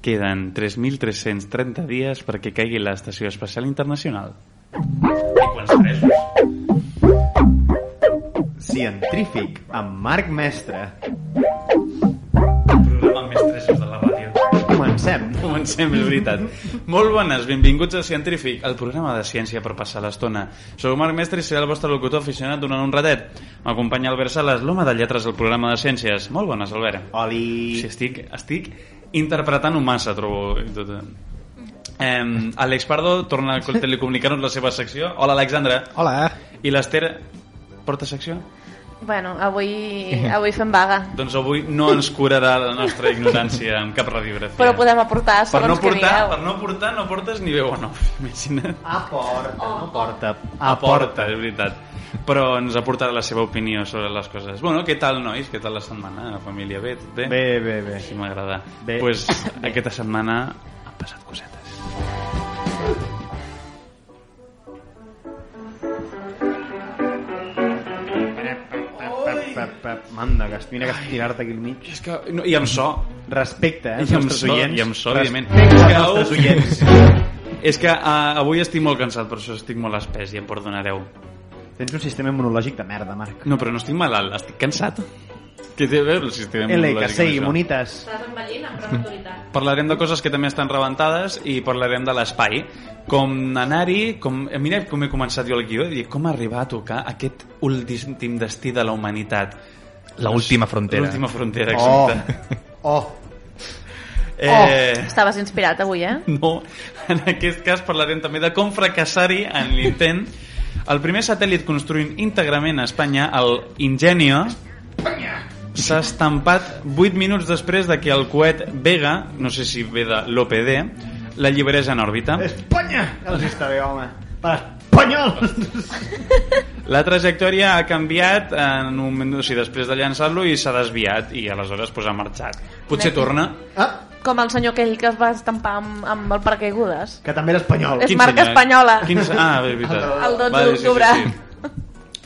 queden 3.330 dies perquè caigui l'Estació Espacial Internacional. Científic amb Marc Mestre. Programa més tresos de la ràdio. Comencem. Comencem, és veritat. Molt bones, benvinguts a Científic, el programa de ciència per passar l'estona. Sou Marc Mestre i seré el vostre locutor aficionat durant un ratet. M'acompanya Albert Sales, l'home de lletres del programa de ciències. Molt bones, Albert. Oli. Sí, estic, estic interpretant-ho massa, trobo. Tot, eh. Em, Àlex Pardo torna a telecomunicar-nos la seva secció. Hola, Alexandra. Hola. I l'Ester porta secció? Bueno, avui, avui fem vaga. Doncs avui no ens curarà la nostra ignorància amb cap radiografia. Però podem aportar per segons no, que portar, digueu. per no portar, no portes ni veu o no. Imagina't. Aporta, Oh. no porta. Aporta, és veritat. Però ens aportarà la seva opinió sobre les coses. Bueno, què tal, nois? Què tal la setmana? La família bé? Tot bé? Bé, bé, bé. Sí, m'agrada. Bé. Doncs pues, aquesta setmana han passat cosetes. Pep, pep, pep. Manda, que mira que has tirar-te aquí al mig. És que... No, I amb so. Respecte, eh, I als amb nostres so, oients. i amb so, Respecte evidentment. als Cau. nostres oients. És que uh, avui estic molt cansat, per això estic molt espès i em perdonareu. Tens un sistema immunològic de merda, Marc. No, però no estic malalt, estic cansat. Què té a veure el sistema L, immunològic que amb sé, això? immunites. Estàs envellint amb prou autoritat. Parlarem de coses que també estan rebentades i parlarem de l'espai. Com anar-hi, com... eh, Mira com he començat jo el guió, i com arribar a tocar aquest últim destí de la humanitat. La última frontera. L'última frontera, exacte. Oh, Oh. Eh... Estaves inspirat avui, eh? No, en aquest cas parlarem també de com fracassar-hi en l'intent. El primer satèl·lit construint íntegrament a Espanya, el Ingenio, s'ha estampat 8 minuts després de que el coet Vega, no sé si ve de l'OPD, l'alliberés en òrbita. Espanya! Que els està bé, home. Per espanyols! La trajectòria ha canviat en un moment, o sigui, després de llançar-lo i s'ha desviat i aleshores pues, ha marxat. Potser torna. Ah, Com el senyor aquell que es va estampar amb, amb el paracaigudes. que també era espanyol. És marca senyor? eh? espanyola. Quin... Ah, és veritat. El Vale, 12 sí, sí, d'octubre. sí.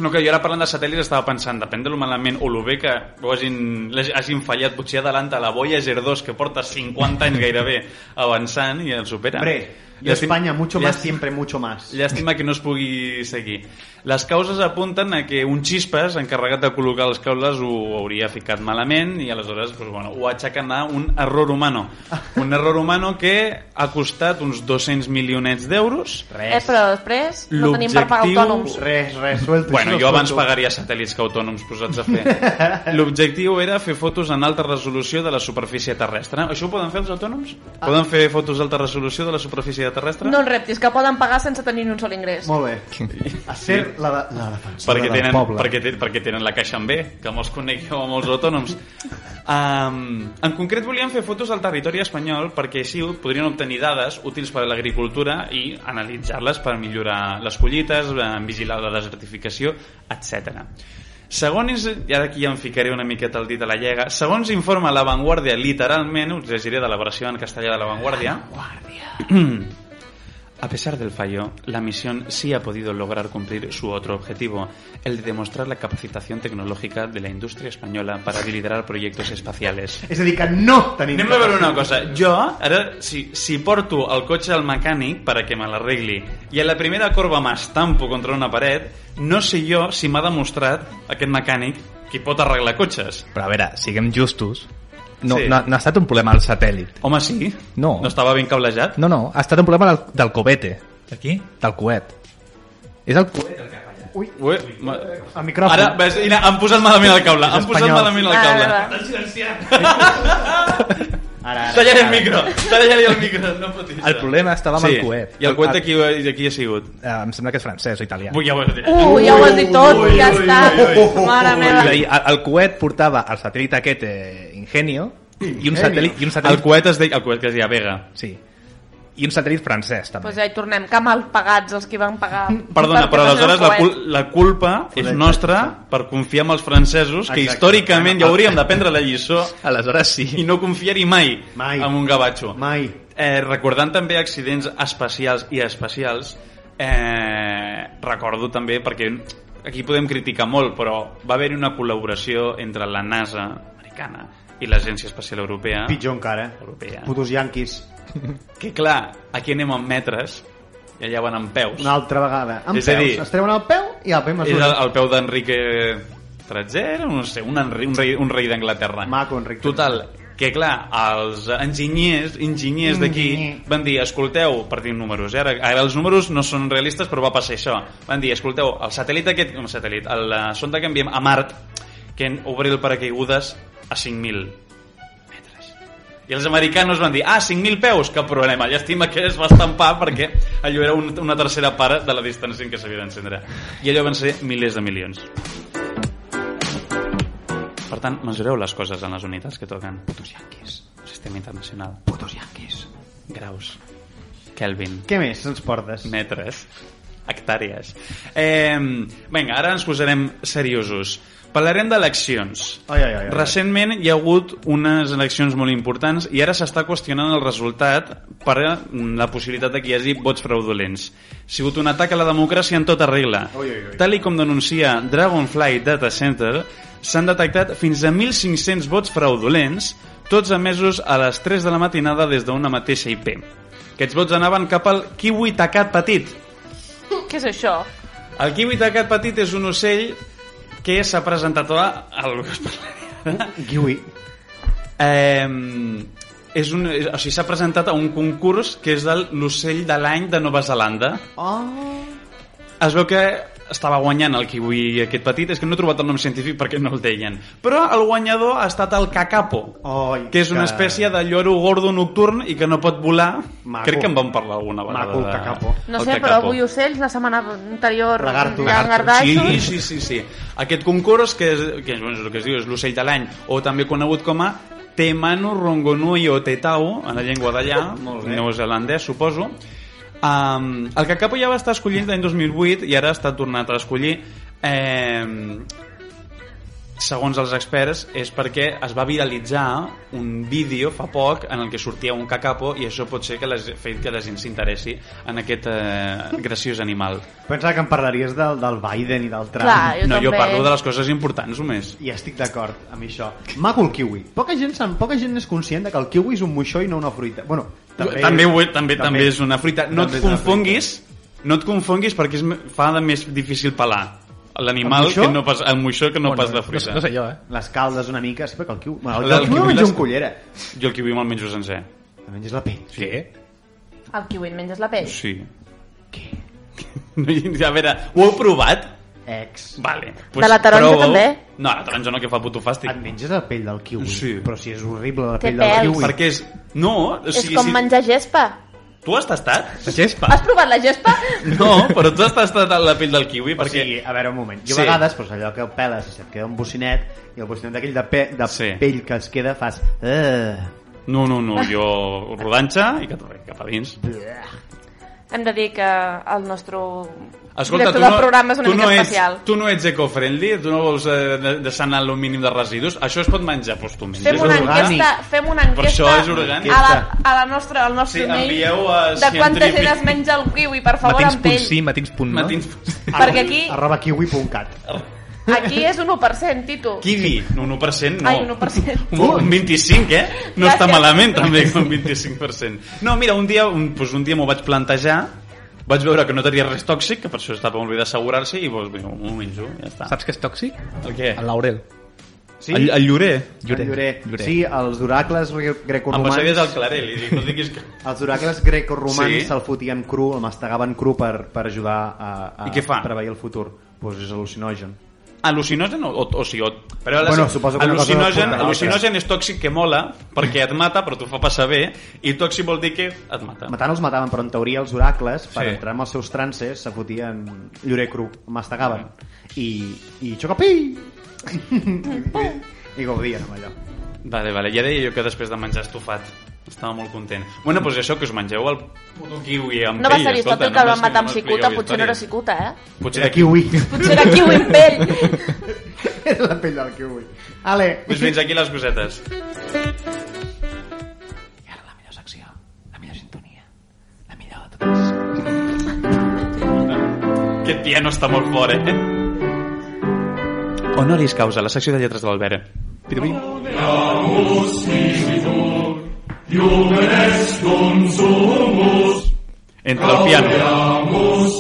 No, que jo ara parlant de satèl·lits estava pensant, depèn de lo malament o lo bé que ho hagin, l'hagi- hagin fallat, potser adelanta la Voyager 2 que porta 50 anys gairebé avançant i el supera. Hombre, i Llàstim- Espanya, mucho más, llàstim- siempre mucho más. Llàstima que no es pugui seguir. Les causes apunten a que un xispes encarregat de col·locar les caules ho hauria ficat malament i aleshores pues, bueno, ho aixequen a un error humano. Un error humano que ha costat uns 200 milionets d'euros. Eh, Res, però després no tenim per pagar L'objectiu- autònoms. res, res, suelto. Bueno, això jo abans suelto. pagaria satèl·lits que autònoms posats a fer. L'objectiu era fer fotos en alta resolució de la superfície terrestre. Això ho poden fer els autònoms? Poden fer fotos d'alta resolució de la superfície terrestre? No els reptis, que poden pagar sense tenir ni un sol ingrés. Molt bé. A ser la, de, la defensora perquè tenen, del poble. perquè, te, perquè tenen la caixa en B, que molts conegueu a molts autònoms. Um, en concret, volíem fer fotos al territori espanyol perquè així podrien obtenir dades útils per a l'agricultura i analitzar-les per millorar les collites, eh, vigilar la desertificació, etc. Segons, i ara aquí ja em ficaré una miqueta el dit a la llega, segons informa La Vanguardia, literalment, us llegiré de la versió en castellà de La Vanguardia, A pesar del fallo, la misión sí ha podido lograr cumplir su otro objetivo, el de demostrar la capacitación tecnológica de la industria española para liderar proyectos espaciales. És a dir, que no tenim... Anem a veure una cosa. Jo, ara, si, si porto el cotxe al mecànic perquè me l'arregli i a la primera corba m'estampo contra una paret, no sé jo si m'ha demostrat aquest mecànic qui pot arreglar cotxes. Però a veure, siguem justos. No, Sí. sí. no, ha- no ha estat un problema del satèl·lit. Home, sí? No. No estava ben cablejat? No, no, ha estat un problema del, del cobete. De qui? Del coet. És el coet. Ui, Ui, ma- el micròfon. Ara, ves, mira, han posat malament el cable. Han posat espanyol. malament el cable. Ah, va, Ara, ara, Tallaré el ara. micro, tallaré el micro, no fotis. El problema estava amb sí. el coet. I el coet El- de qui, de qui ha sigut? Eh, em sembla que és francès o italià. Vull ja ho has dit. va. Ui, ja ho has dit tot, Ui, ja ui, està. ui, ui, ui. Mare meva. És a dir, el, el coet portava el satèl·lit aquest eh, Ingenio i un satèl·lit... I un El satèl·lit coet es deia, el coet que es deia Vega. Sí. I un satèl·lit francès, també. Pues Doncs eh, ja hi tornem, que mal pagats els que van pagar. Perdona, perquè però tenien aleshores un la, coet. cul la culpa és nostra per confiar en els francesos que Exacte. històricament ja hauríem d'aprendre la lliçó Aleshores sí. i no confiar-hi mai, Mai. en un gavatxo. Mai. Eh, recordant també accidents espacials i espacials, eh, recordo també, perquè aquí podem criticar molt, però va haver-hi una col·laboració entre la NASA americana i l'Agència Espacial Europea... Pitjor encara, eh? Europea. Putos yanquis. Que clar, aquí anem amb metres i allà van amb peus. Una altra vegada. Amb És a peus. dir- Es treuen el peu i el peu És mesura. el, el peu d'Enrique III, no sé, un, Enri, un rei, un rei d'Anglaterra. Maco, Enric Total, que clar, els enginyers, enginyers d'aquí Enginyer. van dir, escolteu, partint números, eh? ara, ara els números no són realistes, però va passar això. Van dir, escolteu, el satèl·lit aquest, un satèl·lit, el, la sonda que enviem a Mart, que en- obri el paracaigudes a 5.000 metres. I els americanos van dir, ah, 5.000 peus, cap problema. Llàstima que es va estampar perquè allò era un, una tercera part de la distància en què s'havia d'encendre. I allò van ser milers de milions. Per tant, mesureu les coses en les unitats que toquen. Putos yanquis. Sistema internacional. Putos yanquis. Graus. Kelvin. Què més ens portes? Metres. Hectàrees. Eh, vinga, ara ens posarem seriosos. Parlarem d'eleccions. Ai, ai, ai, ai. Recentment hi ha hagut unes eleccions molt importants i ara s'està qüestionant el resultat per la possibilitat de que hi hagi vots fraudulents. Ha sigut un atac a la democràcia en tota regla. Ui, ui, ui. Tal i com denuncia Dragonfly Data Center, s'han detectat fins a 1.500 vots fraudulents, tots emesos a les 3 de la matinada des d'una mateixa IP. Aquests vots anaven cap al kiwi tacat petit, Què és això? el kiwi tacat petit és un ocell que s'ha presentat a... al Kiwi. eh, és un, és- o sigui, s'ha presentat a un concurs que és del l'ocell de l'any de Nova Zelanda. Oh. Es veu que estava guanyant el kiwi aquest petit, és que no he trobat el nom científic perquè no el deien. Però el guanyador ha estat el cacapo, Ai, que és una que- espècie de lloro gordo nocturn i que no pot volar. Maco. Crec que en vam parlar alguna vegada. Maco, el de- cacapo. No el sé, però cacapo. avui ocells, la setmana anterior... Lagarto. llangardaixos. Sí, sí, sí, sí. Aquest concurs, que és, que és, bueno, és el que es diu, és l'ocell de l'any, o també conegut com a Te Manu Rongonui o Te Tau, en la llengua d'allà, Molt bé. neozelandès, suposo. Um, el Kakapo ja va estar escollit l'any 2008 i ara està tornat a escollir. Eh, segons els experts, és perquè es va viralitzar un vídeo fa poc en el que sortia un cacapo i això pot ser que les, fet que la gent s'interessi en aquest eh, graciós animal. Pensava que em parlaries del, del Biden i del Trump. Clar, jo no, també. jo parlo de les coses importants només. I estic d'acord amb això. Maco el kiwi. Poca gent, se'n- poca gent és conscient de que el kiwi és un moixó i no una fruita. Bueno, També, també, ho- també, també és una fruita. No També et és una confonguis, no et confonguis perquè és, me- fa de més difícil pelar El l'animal moixó? que no pas el moixó que no pas la fruita. No, no sé jo, eh? Les caldes una mica, sí, perquè el kiwi... Bueno, El el, el, kiwi kiwi el menjo les- amb cullera. Jo el kiwi me'l menjo sencer. Te menges la pell. Sí. El kiwi et menges la pell. Sí. Què? A veure, ho heu provat? Ex. Vale. De la taronja prova-ho. també? No, la taronja no, que fa puto fàstic. Et menges la pell del kiwi. Sí. Però si és horrible la Té pell del pèls. kiwi. Perquè és... No, o és sigui, com si... menjar gespa. Tu has tastat? La gespa. Has provat la gespa? No, però tu has tastat la pell del kiwi O perquè... sigui, a veure, un moment. Jo Sí. a vegades, doncs, allò que peles i se't queda un bocinet i el bocinet d'aquell de, pe de Sí. pell que es queda fas... Uh, No, no, no, jo rodanxa i cap, cap a dins. Hem de dir que el nostre Escolta, tu director del no, programa és una tu, mica no ets, especial. tu no ets eco-friendly, tu no vols eh, de- deixar anar el mínim de residus, això es pot menjar, doncs tu menges. Fem És una orgànic. enquesta, fem una Per això enquesta és orgànic. a la, a la nostra, al nostre Sí, email envieu a de quanta científic. gent es menja el kiwi, per favor, amb pell. Matins.sí, matins.no. Matins... Perquè aquí, arroba kiwi.cat. aquí és un 1%, Tito. Kiwi, un 1%, no. Ai, un 1%. Un, un 25, eh? No Gràcies. està malament, també, un 25%. No, mira, un dia, un, doncs un dia m'ho vaig plantejar, vaig veure que no tenia res tòxic, que per això estava molt bé d'assegurar-se, i doncs, vinga, m'ho menjo, ja està. Saps que és tòxic? El què? El laurel. Sí? El, el llorer. Llorer. Llorer. Sí, els oracles gre- Em grecoromans... passaries al clarel i dic, no diguis que... Els oracles grecoromans Sí. sí. se'l fotien cru, el mastegaven cru per, per ajudar a, a I què fa? preveir el futur. Pues és al·lucinogen. Al·lucinogen o, o, o sí, o... Però les- Bueno, suposo que una cosa Ah, al·lucinogen, porta a l'altra. al·lucinogen és tòxic que mola perquè et mata però t'ho fa passar bé i tòxic vol dir que et mata. Matant els mataven, però en teoria els oracles, Ah. per Sí. entrar en els seus trances, se fotien llorer cru, el mastegaven. Mm. I, i xocapi! I gaudien amb allò. Vale, vale. Ja deia jo que després de menjar estofat estava molt content. Bueno, doncs això, que us mengeu el puto kiwi amb No va pell, escolta, ser Aristòtil que el no van matar m'expliqueu amb cicuta, històries. potser no era cicuta, eh? Potser Era d'aquí. kiwi. Potser era kiwi amb pell. Era la pell del kiwi. Ale. Doncs fins aquí les cosetes. I ara la millor secció, la millor sintonia, la millor de totes. Aquest piano està molt fort, eh? Honoris causa, la secció de lletres de l'Albert. pirvin. Entre el piano,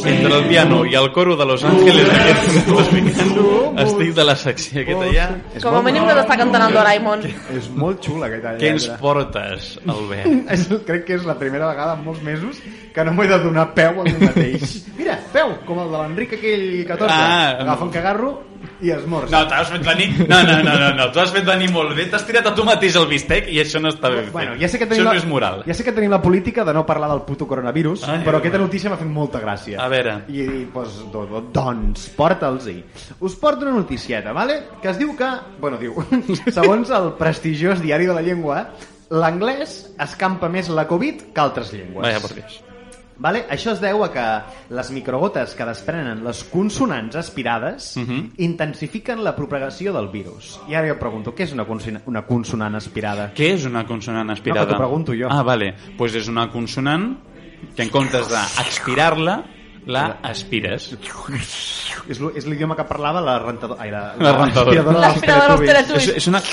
entre el piano i el coro de Los Ángeles d'aquests minutos picant, estic de la secció aquesta ja. És Com a molt mínim que t'està cantant el Doraemon. És molt xula aquesta Què ens lletra. portes, Albert? És, crec que és la primera vegada en molts mesos que no m'he de donar peu a mi mateix. Mira, peu, com el de l'Enric aquell 14. Ah, Agafa un cagarro i esmorza. No, t'has fet venir... No, no, no, no, no. t'has fet venir molt bé. T'has tirat a tu mateix el bistec i això no està bé. fet. Bueno, ja sé que això tenim no és moral. Ah, Ja sé que tenim la política de no parlar del puto coronavirus, Ai, però ai, aquesta ai. notícia m'ha fet molta gràcia. A veure. I, i doncs, doncs, doncs porta'ls-hi. Us porto una noticieta, vale? que es diu que, bueno, diu, segons el prestigiós diari de la llengua, l'anglès escampa més la Covid que altres llengües. Vaja, per Dios. Vale? Això es deu a que les microgotes que desprenen les consonants aspirades Mhm. intensifiquen la propagació del virus. I ara jo pregunto, què és una, consona- una consonant aspirada? Què és una consonant aspirada? No, que t'ho pregunto jo. Ah, vale. Doncs pues és una consonant que en comptes d'expirar-la, la aspires. És, lo- és l'idioma que parlava la rentadora... Ai, la, La rentadora. aspiradora dels L'aspiradora dels Teletubbies. És, Teletubbies.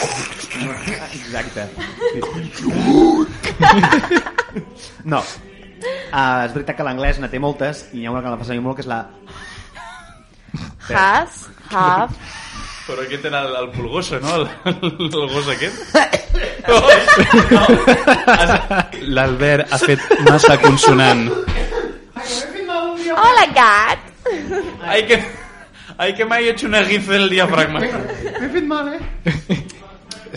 és una... Ah, Exacte. No. Uh, és veritat que l'anglès ne té moltes i hi ha una que la fa servir molt que és la... Has, have... Però aquest era el, el pulgoso, no? El, el, el gos aquest. No, no. L'Albert ha fet massa consonant. Hola, gat! Ai, que... Ai, que m'ha hecho una gif del diafragma. M'he fet mal, eh?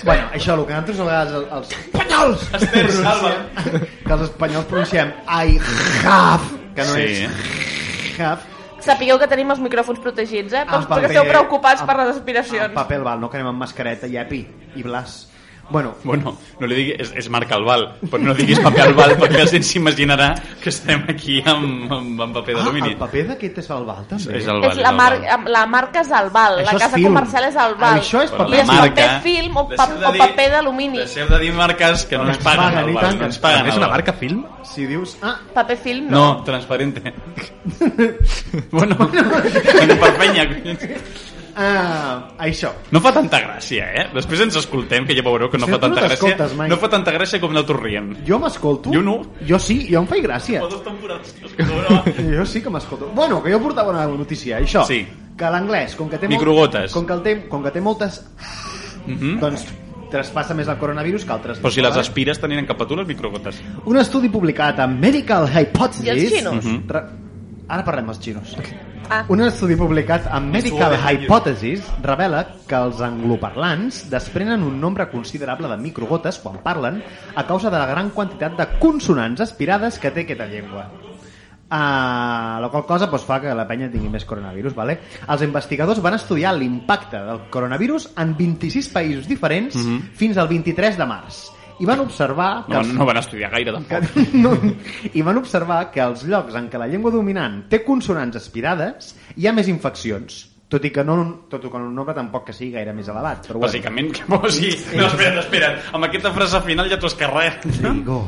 Bueno, això, el que nosaltres a vegades el- els espanyols Esther, salva. que els espanyols pronunciem I have, que no Sí. eh? és have, Sapigueu que tenim els micròfons protegits, eh? Tots Ah, Amb que esteu paper, preocupats amb- per les amb aspiracions. paper al val, no que anem amb mascareta i epi i blas. Bueno, Bueno, no li diguis... És, és Marc Albal, però no diguis paper Albal perquè la gent s'imaginarà que estem aquí amb, amb, amb paper ah, d'alumini. el paper d'aquest és el val, també. És el És la, mar la marca és el Val, Això la és casa film. comercial és el Val. Això és Però paper. I és paper film o, pa deixeu de o dir- paper d'alumini. Deixeu de dir marques que no, No ens ens paguen, paguen, i Albal, tant no que ens ens paguen. És una Albal. marca film? Si dius... Ah, Paper film no. No, transparente. bueno, en Perpenya. collons. ah, això. No fa tanta gràcia, eh? Després ens escoltem, que ja veureu que no Però fa tu no tanta gràcia. t'escoltes mai. No fa tanta gràcia com nosaltres riem. Jo m'escolto. Jo no. Jo sí, jo em faig gràcia. Dos temporades. Però Jo sí que m'escolto. Bueno, que jo portava una notícia, això. Sí. Que l'anglès, com que té Microgotes. Com que, el té, com que té moltes, Mhm. doncs traspassa més el coronavirus que altres. si les vale? aspires, tenien cap a tu les microgotes. Un estudi publicat a Medical Hypothesis... I els xinos? Mhm. Re- Ara parlem dels xinos. Ah. Un estudi publicat a Medical Suave, Hypothesis revela que els angloparlants desprenen un nombre considerable de microgotes quan parlen a causa de la gran quantitat de consonants aspirades que té aquesta llengua. Uh, la qual cosa doncs, fa que la penya tingui més coronavirus vale? els investigadors van estudiar l'impacte del coronavirus en 26 països diferents fins al 23 de març i van observar Mhm. que No, els- no van estudiar gaire, tampoc. que, no, I van observar que als llocs en què la llengua dominant té consonants aspirades, hi ha més infeccions. Tot i que no, tot i que en un nombre tampoc que sigui gaire més elevat. Però bueno. Bàsicament, que o sigui... No, espera't, espera't. Amb aquesta frase final ja t'ho has carregat. Rigor.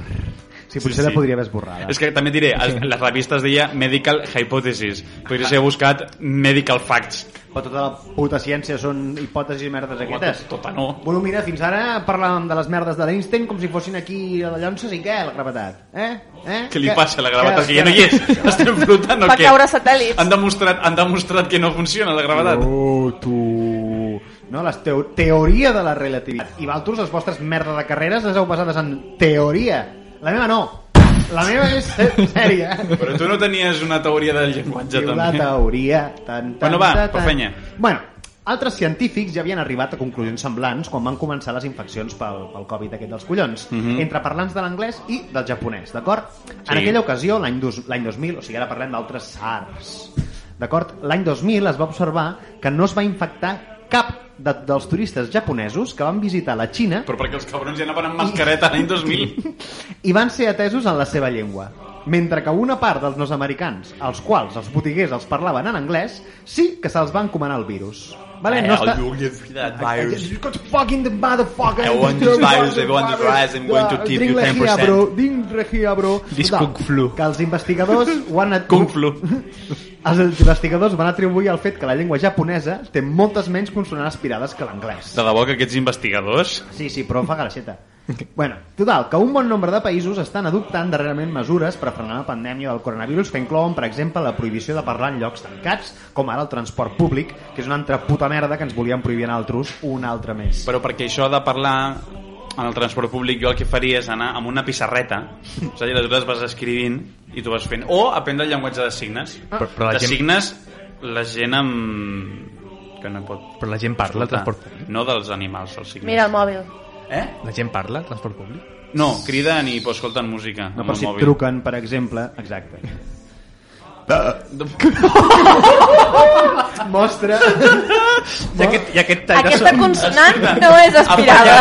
Sí, potser Sí, sí, sí. la podria haver esborrada. És que també et diré, els- les revistes deia Medical Hypothesis. Podries haver buscat Medical Facts. Però tota la puta ciència són hipòtesis i merdes aquestes. Tota no. Bueno, mira, fins ara parlàvem de les merdes de l'Einstein com si fossin aquí a la llonsa, i què, la gravetat? Eh? eh? Què li Que- passa a la gravetat? que- Que ja no hi és. Estem flotant o Va què? caure satèl·lits. Han demostrat, han demostrat que no funciona la gravetat. Oh, tu... No, la teo teoria de la relativitat. I Valturs, les vostres merda de carreres les heu basades en teoria. La meva no. La meva és se- sèria. Però tu no tenies una teoria del llenguatge, Diu la també? teoria. Tan, tan, Bueno, va, tan, tan. perfenya. Bueno, altres científics ja havien arribat a conclusions semblants quan van començar les infeccions pel, pel Covid aquest dels collons, entre parlants de l'anglès i del japonès, d'acord? En Mhm. Sí. aquella ocasió, l'any dos- l'any 2000, o sigui, ara parlem d'altres SARS, d'acord? L'any 2000 es va observar que no es va infectar cap de, dels turistes japonesos que van visitar la Xina Però perquè els cabrons ja anaven amb mascareta l'any 2000. i van ser atesos en la seva llengua. Mentre que una part dels nord-americans, als quals els botiguers els parlaven en anglès, sí que se'ls va encomanar el virus. Vale? Eh, no I'll està... do give you that virus. You got fucking the motherfucker. I want this virus, I want the virus, I'm going to tip you Drink lejía, 10%. bro. Drink lejía, bro. This Total, Kung Flu. Que els investigadors ho han... at- Kung Flu. Els investigadors van atribuir el fet que la llengua japonesa té moltes menys consonants aspirades que l'anglès. De debò que aquests investigadors... Sí, sí, però em fa graceta. Bueno, total, que un bon nombre de països estan adoptant darrerament mesures per frenar la pandèmia del coronavirus que inclouen, per exemple, la prohibició de parlar en llocs tancats, com ara el transport públic, que és una altra puta merda que ens volien prohibir en altres un altre més. Però perquè això de parlar en el transport públic, jo el que faria és anar amb una pissarreta, és a dir, aleshores vas escrivint i tu vas fent... O aprendre el llenguatge de signes. Ah. Però- però la de gent- signes, la gent amb... que no pot... Però la gent parla, transport públic. No dels animals, els signes. Mira el mòbil. Eh? La gent parla, transport públic. No, criden i pues, escolten música No, amb però el si et mòbil. truquen, per exemple... Exacte. Mostra... I aquest, i aquest tall de Aquesta so- consonant no és aspirada.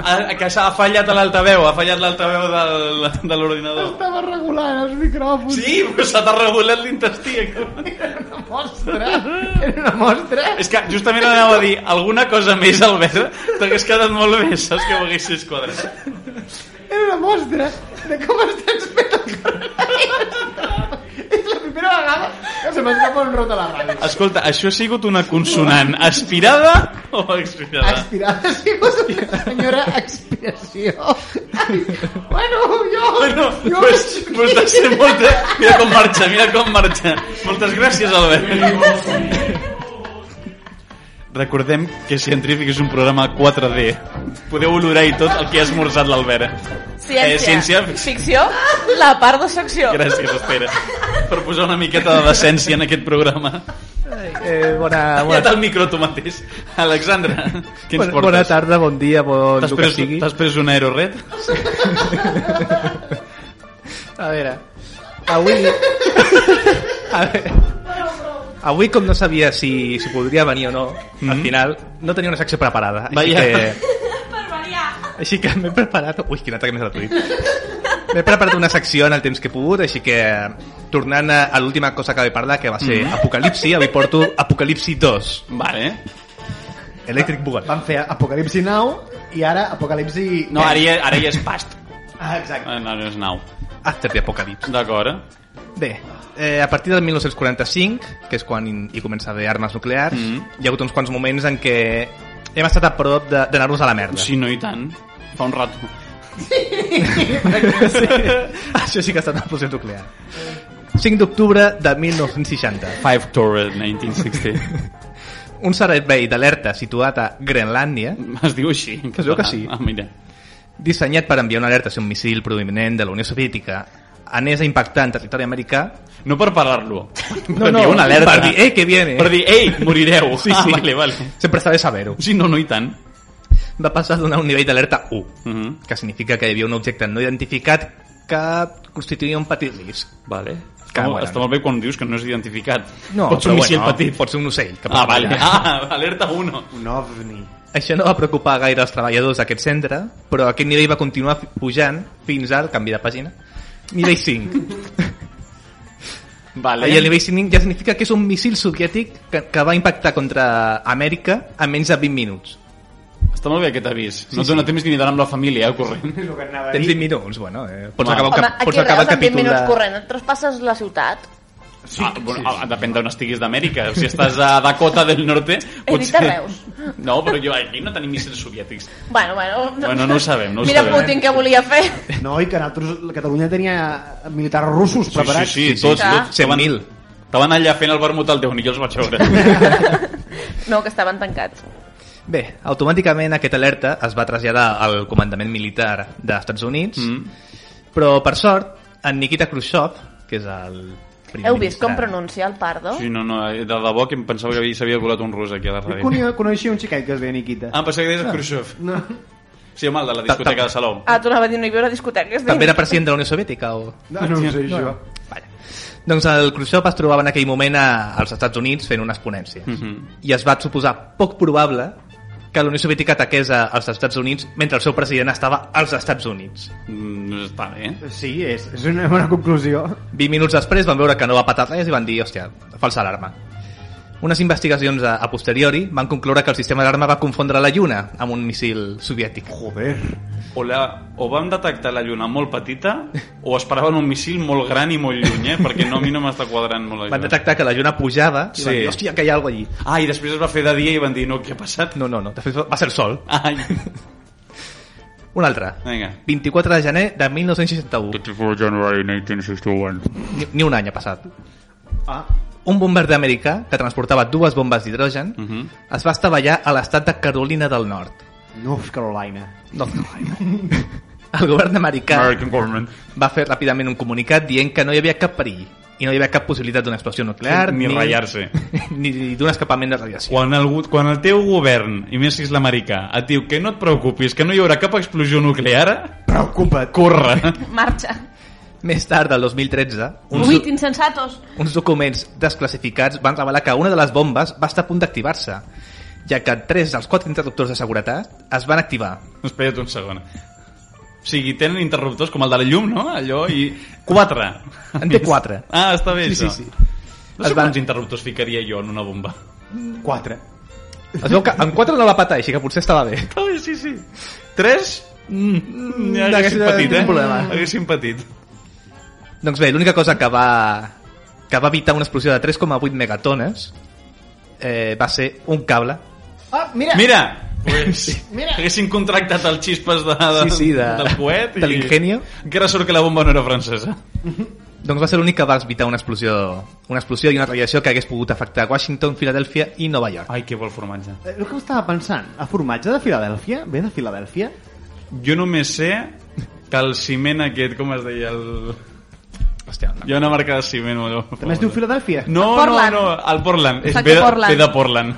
Ha, ha, que s'ha- ha fallat a l'altaveu, ha fallat l'altaveu del, de l'ordinador. Estava regulant els micròfons. Sí, però s'ha regulat l'intestí. cabrón. Una mostra. Era una mostra. És que justament anava a dir alguna cosa més, Albert, t'hagués quedat molt bé, saps que ho haguessis quadrat. Era una mostra de com es transmet el coronavirus. És la primera vegada que se m'escapa un rot a la ràdio. Escolta, això ha sigut una consonant aspirada o expirada? Expirada, sí, vos senyora expiració. Ai, bueno, jo... Bueno, jo pues, pues de ser molta... Mira com marxa, mira com marxa. Moltes gràcies, Albert. Recordem que Científic és un programa 4D. Podeu olorar i tot el que ha esmorzat l'Albert. Ciència. Eh, ciència. Ficció. La part de secció. Gràcies, Estera, per posar una miqueta de decència en aquest programa. Eh, bona, Bona... bona, Ja el micro tu mateix. Alexandra, què ens bona, portes? bona tarda, bon dia, bon T'has el que pres, sigui. t'has pres un aeroret? A veure, avui... A veure, avui, com no sabia si, si podria venir o no, al Mhm. final no tenia una secció preparada. Així Vaya. que... Així que m'he preparat... Ui, quin atac més gratuït. M'he preparat una secció en el temps que he pogut, així que tornant a, a l'última cosa que vaig parlar, que va ser Mhm. Apocalipsi, avui porto Apocalipsi 2, Vale. Electric Boogaloo. Van fer Apocalipsi Now i ara Apocalipsi... No, ara ja, ara ja és past. Ah, exacte. Ah, No, no és nau. After the Apocalypse. D'acord. eh? Bé, eh, a partir del 1945, que és quan in- hi comença a haver armes nuclears, mm Mhm. -hmm. hi ha hagut uns quants moments en què hem estat a prop de- d'anar-nos a la merda. Sí, no i tant. Fa un rato. sí. Això sí que ha estat una explosió nuclear. 5 d'octubre de 1960. 5 Torre 1960. Un servei d'alerta situat a Groenlàndia, Es diu així. en Es veu que català. sí. Ah, mira. dissenyat per enviar una alerta si un missil provinent de la Unió Soviètica anés a impactar en territori americà... No per parar-lo. per no, dir una alerta. Per dir, eh, que viene. Per dir, ei, morireu. Sí, Ah, sí. vale, vale. Sempre està bé saber-ho. Sí, no, no i tant. Va passar a donar un nivell d'alerta 1. Uh -huh. que significa que hi havia un objecte no identificat que constituïa un petit risc. Vale. Està, Que molt, moren. està molt bé quan dius que no és identificat. No, Pots però un missil bueno, petit. Pot ser un ocell. Que Ah, pot vale. volar. Ah, alerta 1. Un ovni. Això no va preocupar gaire els treballadors d'aquest centre, però aquest nivell va continuar fi- pujant fins al canvi de pàgina. Nivell 5. Vale. I el nivell 5 ja significa que és un missil soviètic que, que va impactar contra Amèrica en menys de 20 minuts. Està molt bé aquest avís. No et dona temps ni d'anar amb la família, eh, corrent. És el que anava a Tens dir. 20 minuts, bueno, eh, pots, Home, acabar, el Home, cap, aquí pots a acabar el Reus en 20 capítol minuts de... corrent et traspasses la ciutat. Sí, ah, bueno, ah, depèn d'on estiguis d'Amèrica. Si estàs a Dakota del Norte... He dit a Reus. No, però jo aquí no tenim míssils soviètics. Bueno, bueno... Bueno, no ho sabem, no ho Mira sabem. eh? Putin què volia fer. No, i que nosaltres, Catalunya tenia militars russos preparats. sí, sí, sí, tots, sí. tots. Clar. 100.000. Estaven allà fent el vermut al Déu, ni jo els vaig veure. No, que estaven tancats. Bé, automàticament aquesta alerta es va traslladar al comandament militar dels Estats Units, mm. Mm. Però, per sort, en Nikita Khrushchev, que és el... primer Heu vist ministre- com pronuncia el pardo? Sí, no, no, de debò que em pensava que havia- s'havia volat un rus aquí a la Jo ràdio. conia- coneixia un xiquet que es deia Nikita. Ah, em pensava que deies Khrushchev. No. Sí, home, el de la discoteca de Salou. Ah, tu anava a dir, no hi havia una discoteca. és a dir- També era president de la Unió Soviètica, o...? No, no ho sé, això. Vale. Doncs el Khrushchev es trobava en Mm. aquell moment a, als Estats Units fent unes ponències. Mhm. I es va suposar poc probable que la Unió Soviètica ataqués a- als Estats Units mentre el seu president estava als Estats Units. Mm, està bé. Sí, és, és una bona conclusió. 20 minuts després van veure que no va patar res i van dir, hòstia, falsa alarma. Unes investigacions a, a posteriori van concloure que el sistema d'alarma va confondre la Lluna amb un missil soviètic. Joder. O, la, o vam detectar la lluna molt petita o esperaven un missil molt gran i molt lluny, eh? Perquè no, a mi no m'està quadrant molt la Van lluna. detectar que la Lluna pujava i Sí. van dir, hòstia, que hi ha alguna allí. Ah, i després es va fer de dia i van dir, no, què ha passat? No, no, no, de fet va ser el Sol. Ai, Un altre. vinga. 24 de gener de 1961. 24 January 1961. Ni, ni un any ha passat. Ah, Un bombarder americà que transportava dues bombes d'hidrogen Uh -huh. es va estavellar a l'estat de Carolina del Nord. North Carolina. North Carolina. El govern americà American government. va fer ràpidament un comunicat dient que no hi havia cap perill i no hi havia cap possibilitat d'una explosió nuclear Ni ratllar-se. ni d'un escapament de radiació. Quan el, gu- quan el teu govern, i més si és l'americà, et diu que no et preocupis, que no hi haurà cap explosió nuclear, Preocupa't. corre. Marxa. Més tard, del 2013, uns, Vuit insensatos. uns documents desclassificats van revelar que una de les bombes va estar a punt d'activar-se, ja que tres dels quatre interruptors de seguretat es van activar. Espera't un segon. O sigui, tenen interruptors com el de la llum, no? Allò, i... Quatre! En té quatre. Ah, està bé, Sí, això. sí, No sé Es van- quants interruptors ficaria jo en una bomba. Quatre. Es veu que en quatre no la va patar, així que potser estava bé. Està bé, sí, sí. Tres? Mm, ja haguéssim haguéssim- patit, eh? tinc problema. Haguéssim patit. Doncs bé, l'única cosa que va, que va evitar una explosió de 3,8 megatones eh, va ser un cable. Ah, mira! Mira! Pues, Mira. haguéssim contractat els xispes de, de, Sí, sí, de- del coet de l'ingenio. encara sort que la bomba no era francesa Doncs va ser l'únic que va evitar una explosió, una explosió i una radiació que hagués pogut afectar Washington, Filadèlfia i Nova York. ai que vol formatge Eh, El que estava pensant, el formatge de Filadèlfia? Ve de Filadèlfia? jo només sé que el ciment aquest com es deia el... Hòstia, no. hi ha una marca de ciment allò. També es diu Filadèlfia? No, Portland. no, no, al Portland. Em És sap ve, que de- Portland. ve de Portland.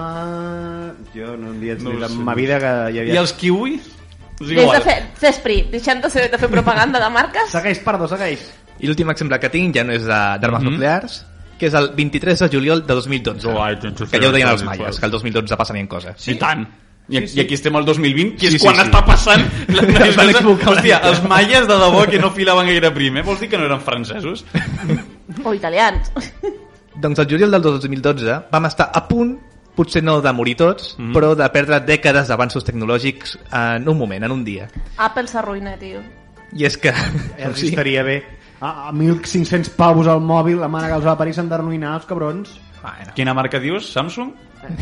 Ah, jo no havia No dit ho en sé. ma vida que hi havia... I els kiwis? És Deix de igual. eh? fer Cespri, deixant de, ser, de fer propaganda de marques. Segueix, perdó, segueix. I l'últim exemple que tinc ja no és de- d'armes Mhm. Oh, nuclears, que és el 23 de juliol de 2012. July 23, que ja ho deien els 2012. maies, que el 2012 passarien coses. Sí, I tant. I, sí, sí. I aquí estem al 2020, que és sí, Sí, sí, quan sí. sí. està passant la, la Es van equivocar una Hòstia, mica. els maies de debò que no filaven gaire prim, eh? Vols dir que no eren francesos? O italians. Doncs el juliol del 2012 vam estar a punt, potser no de morir tots, Mhm. però de perdre dècades d'avanços tecnològics en un moment, en un dia. Apple s'arruïna, tio. I és que... Doncs Ja sí. estaria bé. A, a 1.500 pavos al mòbil, la mare que els va parir s'han d'arruïnar, els cabrons. Bueno. Quina marca dius? Samsung?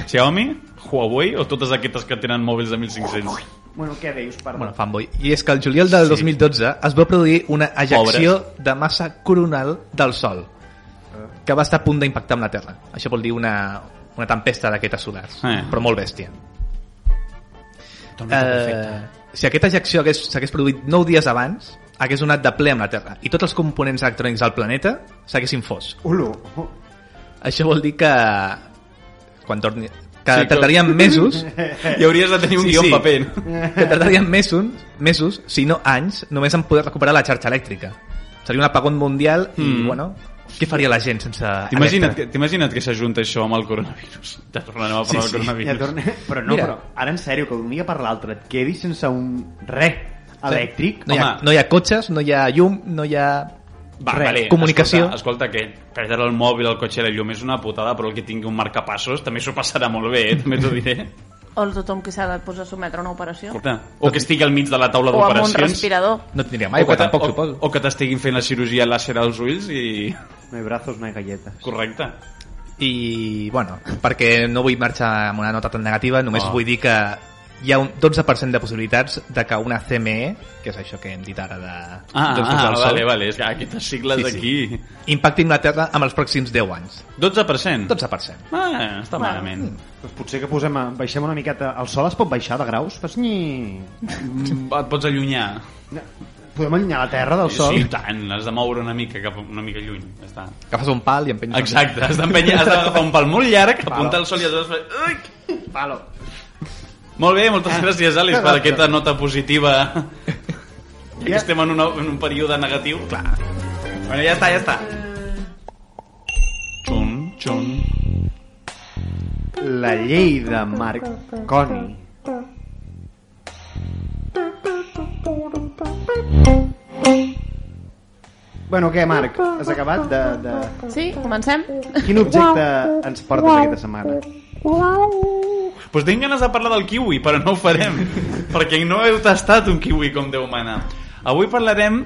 Xiaomi? Huawei? O totes aquestes que tenen mòbils de 1.500? Bueno, què deies, perdó? Bueno, fanboy. I és que el juliol del 2012 es va produir una ejecció de massa coronal del Sol, Eh. que va estar a punt d'impactar amb la Terra. Això vol dir una, una tempesta d'aquestes solars, Eh. però molt bèstia. Eh, si aquesta ejecció hagués- s'hagués produït 9 dies abans, hagués donat de ple amb la Terra i tots els components electrònics del planeta s'haguessin fos. Ulu. Això vol dir que... Quan torni... Que Sí, sí, que- tardarien mesos I hauries de tenir un Sí, sí, guió sí. en paper. que tardarien mesos, mesos, si no anys, només en poder recuperar la xarxa elèctrica. Seria un apagón mundial i, Mm. bueno, què faria la gent sense T'imagina't que, elèctrica? t'imagina't que s'ajunta això amb el coronavirus. Ja tornarem a Sí, parlar del sí, coronavirus. Ja torna... Però no, Mira. Mira. però ara en sèrio, que d'un dia per l'altre et quedis sense un re elèctric. No hi, ha, Home. no hi ha cotxes, no hi ha llum, no hi ha... Va, res. vale, comunicació. Escolta, escolta, que perdre el mòbil, el cotxe i la llum és una putada, però el que tingui un marcapassos també s'ho passarà molt bé, eh? també t'ho diré. O tothom que s'ha de posar a sometre a una operació. Escolta, o que estigui al mig de la taula O amb un d'operacions. respirador. No tindríem o aigua, que, ta- tampoc, o, suposo. o que t'estiguin fent la cirurgia làser als ulls i... No hi braços, no hi galletes. Correcte. I, bueno, perquè no vull marxar amb una nota tan negativa, només Oh. oh. vull dir que hi ha un 12% de possibilitats de que una CME, que és això que hem dit ara de... Ah, dels ah costats del doncs Sol, vale, vale, és que aquestes sigles Sí, sí, sí. aquí... impacti en la Terra amb els pròxims 10 anys. 12%? 12%. Ah, està Bueno. malament. Doncs potser que posem a, baixem una miqueta... El sol es pot baixar de graus? Fas ni... Mm, Et pots allunyar. Podem allunyar la terra del sol? Sí, i tant, has de moure una mica cap una mica lluny. Ja està. Agafes un pal i empenys... Exacte, has d'empenyar, has d'agafar un pal molt llarg, apuntar al sol i has de fer... Ui! Palo. Molt bé, moltes Ah. gràcies, Àlex, per aquesta nota positiva. Ja que Ja. estem en, una, en un període negatiu. Clar. Bueno, ja està, ja està. Xun, xun. La llei de Marconi. Bueno, què, Marc? Has acabat de... de... Sí, comencem? Quin objecte ens portes aquesta setmana? Pues tinc ganes de parlar del kiwi, però no ho farem, perquè no heu tastat un kiwi com Déu mana. Avui parlarem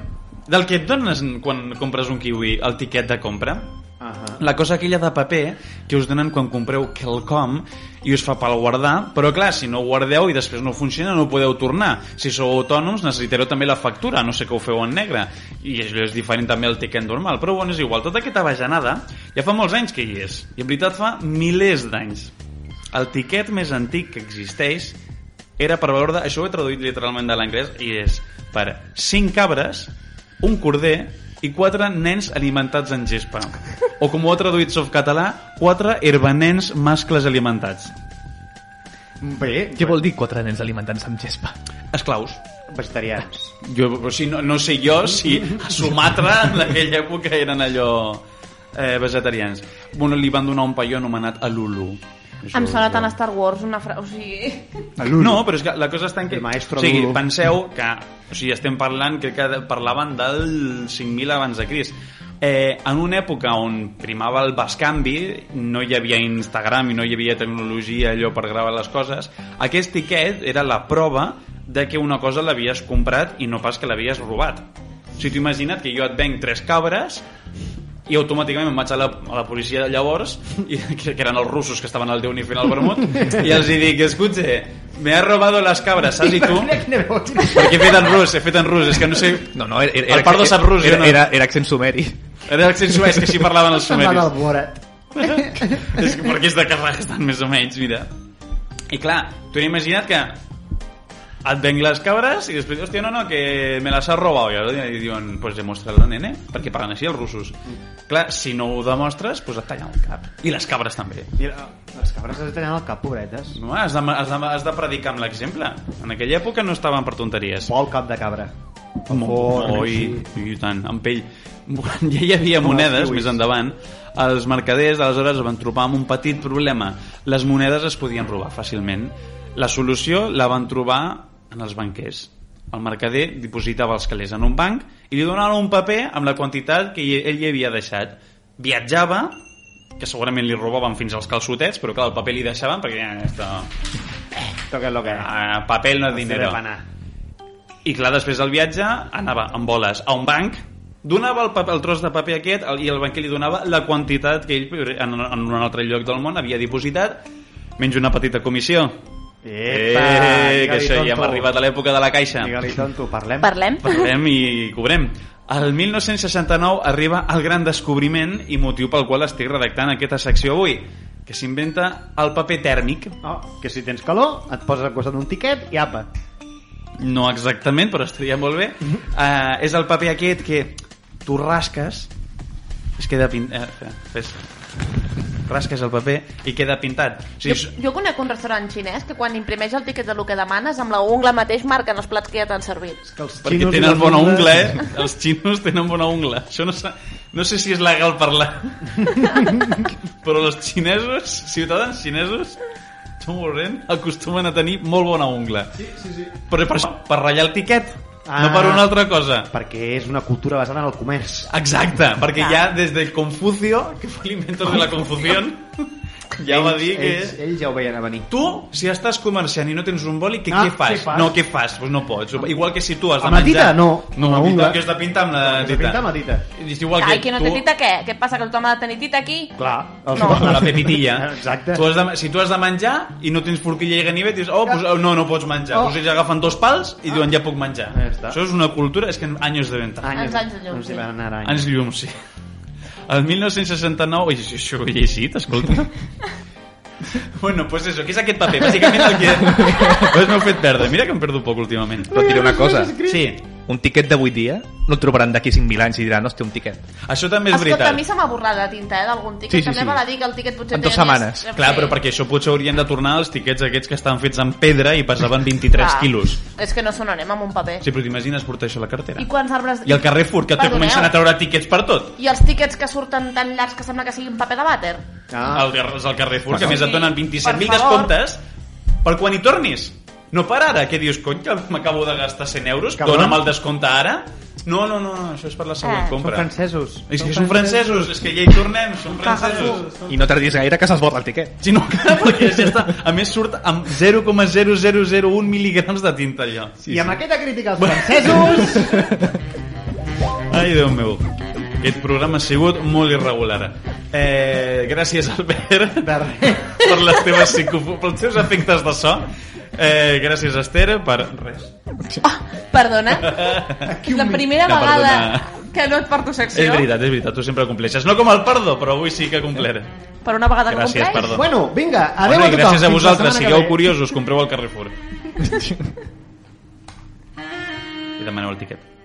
del que et dones quan compres un kiwi, el tiquet de compra. Uh -huh. La cosa aquella de paper que us donen quan compreu quelcom i us fa pel guardar, però clar, si no ho guardeu i després no funciona no ho podeu tornar. Si sou autònoms necessitareu també la factura, a no sé que ho feu en negre. I això és diferent també al tiquet normal, però bueno, és igual. Tota aquesta bajanada ja fa molts anys que hi és, i en veritat fa milers d'anys. El tiquet més antic que existeix era per valor de... Això ho he traduït literalment de l'anglès i és per 5 cabres, un corder i 4 nens alimentats en gespa. O com ho ha traduït soft català, 4 herbanens mascles alimentats. Bé, Què vol dir quatre nens alimentant-se amb gespa? Esclaus. vegetarians. Jo, però si no, no sé jo si a Sumatra en aquella època eren allò eh, vegetarians. Bueno, li van donar un paió anomenat Alulu. Em sona tant a Star Wars una frase... O sigui... No, però és que la cosa està en què... El maestro o sigui, Lulu. penseu que... O sigui, estem parlant, crec que parlaven del 5.000 abans de Crist. Eh, en una època on primava el bescanvi, no hi havia Instagram i no hi havia tecnologia allò per gravar les coses, aquest tiquet era la prova de que una cosa l'havies comprat i no pas que l'havies robat. O sigui, tu imagina't que jo et venc tres cabres i automàticament em vaig a la, a la policia de llavors i, que, que eren els russos que estaven al Déu-n'hi fent el vermut i els hi dic, escutxe, me has robado las cabras, saps i tu? Mira quina veu tens. Perquè he fet en rus, he fet en rus, és que no sé... No, no, era, era, El Pardo sap rus, era, jo no. era, era accent sumeri. Era l'accent suès que així parlaven els Semblava sumeris. el Borat. És que perquè és de Kazajstan, més o menys, mira. I clar, tu n'he imaginat que et venc les cabres i després, hòstia, no, no, que me les has robat. I ara li diuen, doncs pues demostra-la, nene, perquè paguen així els russos. Clar, si no ho demostres, doncs et tallen el cap. I les cabres també. Mira, les cabres Ah, es tenen el cap, pobretes. No, has de, has de, has de predicar amb l'exemple. En aquella època no estaven per tonteries. Vol cap de cabra. Oh, i, i tant, amb pell. Quan ja hi havia Com els monedes, kiwis. més endavant, els mercaders aleshores es van trobar amb un petit problema. Les monedes es podien robar fàcilment. La solució la van trobar en els banquers. El mercader dipositava els calés en un banc i li donaven un paper amb la quantitat que hi- ell hi havia deixat. Viatjava, que segurament li robaven fins als calçotets, però clar, el paper li deixaven perquè... Ja, esto... Toca lo que... Ah, papel no es dinero. I clar, després del viatge anava amb boles a un banc, donava el, paper, el tros de paper aquest el- i el banquer li donava la quantitat que ell en, en un altre lloc del món havia dipositat, menys una petita comissió. Epa, eh, que digue-li, això ja hem tonto. arribat a l'època de la caixa. Digue-li, tonto, parlem. Parlem? Parlem i cobrem. El 1969 arriba el gran descobriment i motiu pel qual estic redactant aquesta secció avui, que s'inventa el paper tèrmic. Oh, que si tens calor, et poses al costat d'un tiquet i apa. No exactament, però estaria molt bé. Mhm. Uh, és el paper aquest que tu rasques, es queda pintat... Uh, fes. Rasques el paper i queda pintat. O sigui, Jo, és- jo conec un restaurant xinès que quan imprimeix el tiquet de lo que demanes, amb la ungla mateix marquen els plats que ja t'han servit. Que els perquè xinos i tenen les bona ungles- ungla, eh? Els xinos tenen bona ungla. Això no, sa- no sé si és legal parlar. Però els xinesos, ciutadans xinesos, som horrent, acostumen a tenir molt bona ungla. Sí, sí, sí. Però per, això, per ratllar el tiquet, no per Ah. una altra cosa. Perquè és una cultura basada en el comerç. Exacte, perquè Clar. ja des del Confucio, que fue l'inventor de la confusió, ja va dir que... Ells, ells ja ho veien a venir. Tu, si estàs comerciant i no tens un boli, què, Ah, què fas? què fas? No, què fas? Pues no pots. Igual que si tu has de Amb la menjar... tita, no. No, Amb la amb la ungla. tita, que has de pintar amb la Has de tita. pintar amb la tita. És igual que Ai, qui no té tu- tita què? Què passa, que tothom ha de tenir tita aquí? Clar. Els No. A la pepitilla. Exacte. Tu has de, si tu has de menjar i no tens forquilla i ganivet, dius, oh, pues, oh, no, no pots menjar. Oh. Pues ells agafen dos pals i diuen, ja puc menjar. Ja està. Això és una cultura, és que en anys de venta. Anys, Ens anys de llum, Ens sí. hi van anar anys. Ens llum, sí. El 1969... Ui, això ho he llegit, escolta. bueno, doncs pues això, què és aquest paper? Bàsicament el que... pues m'heu fet perdre. Mira que em perdo poc últimament. Però et diré una cosa. Sí, un tiquet de 8 dia, no el trobaran d'aquí 5.000 anys i diran, hòstia, un tiquet. Això també és Escolta, veritat. a mi se m'ha borrat la tinta, eh, d'algun tiquet. Sí, sí, També sí. val a dir que el tiquet potser... En dues té més- setmanes. Clar, però perquè això potser haurien de tornar els tiquets aquests que estaven fets amb pedra i pesaven 23 Clar. quilos. És que no sononem amb un paper. Sí, però t'imagines portar això a la cartera? I quants arbres... I el Carrefour, que te Perdoneu. comencen a treure tiquets per tot. I els tiquets que surten tan llargs que sembla que siguin paper de vàter. Ah, El, és el Carrefour, que a Bueno. més et donen Sí, 27.000 per favor. descomptes per quan hi tornis. No per ara, que dius, cony, que m'acabo de gastar 100 euros, Cabrón. dona'm el descompte ara. No, no, no, no, això és per la següent Ah. són compra. francesos. És que són francesos, és que ja hi tornem, són francesos. I no tardis gaire que s'esborra el tiquet. Si no, clar, perquè ja està. A més surt amb 0,0001 mil·ligrams de tinta, allò. I amb aquesta crítica als francesos... Ai, Déu meu. Aquest programa ha sigut molt irregular. Eh, gràcies, Albert, De res. per les teves psicopo- pels teus efectes de so. Eh, gràcies, Esther, per res. Perdona? Aquí un la mi- primera No, vegada perdona. que no et porto secció. És veritat, és veritat, tu sempre compleixes. No com el perdó, però avui sí que complert. Per una vegada Gràcies, no compleix. perdó. Bueno, vinga, adeu Bueno, a i tothom. gràcies a Fins la vosaltres, setmana que sigueu ve. curiosos, compreu al Carrefour. I demaneu el tiquet.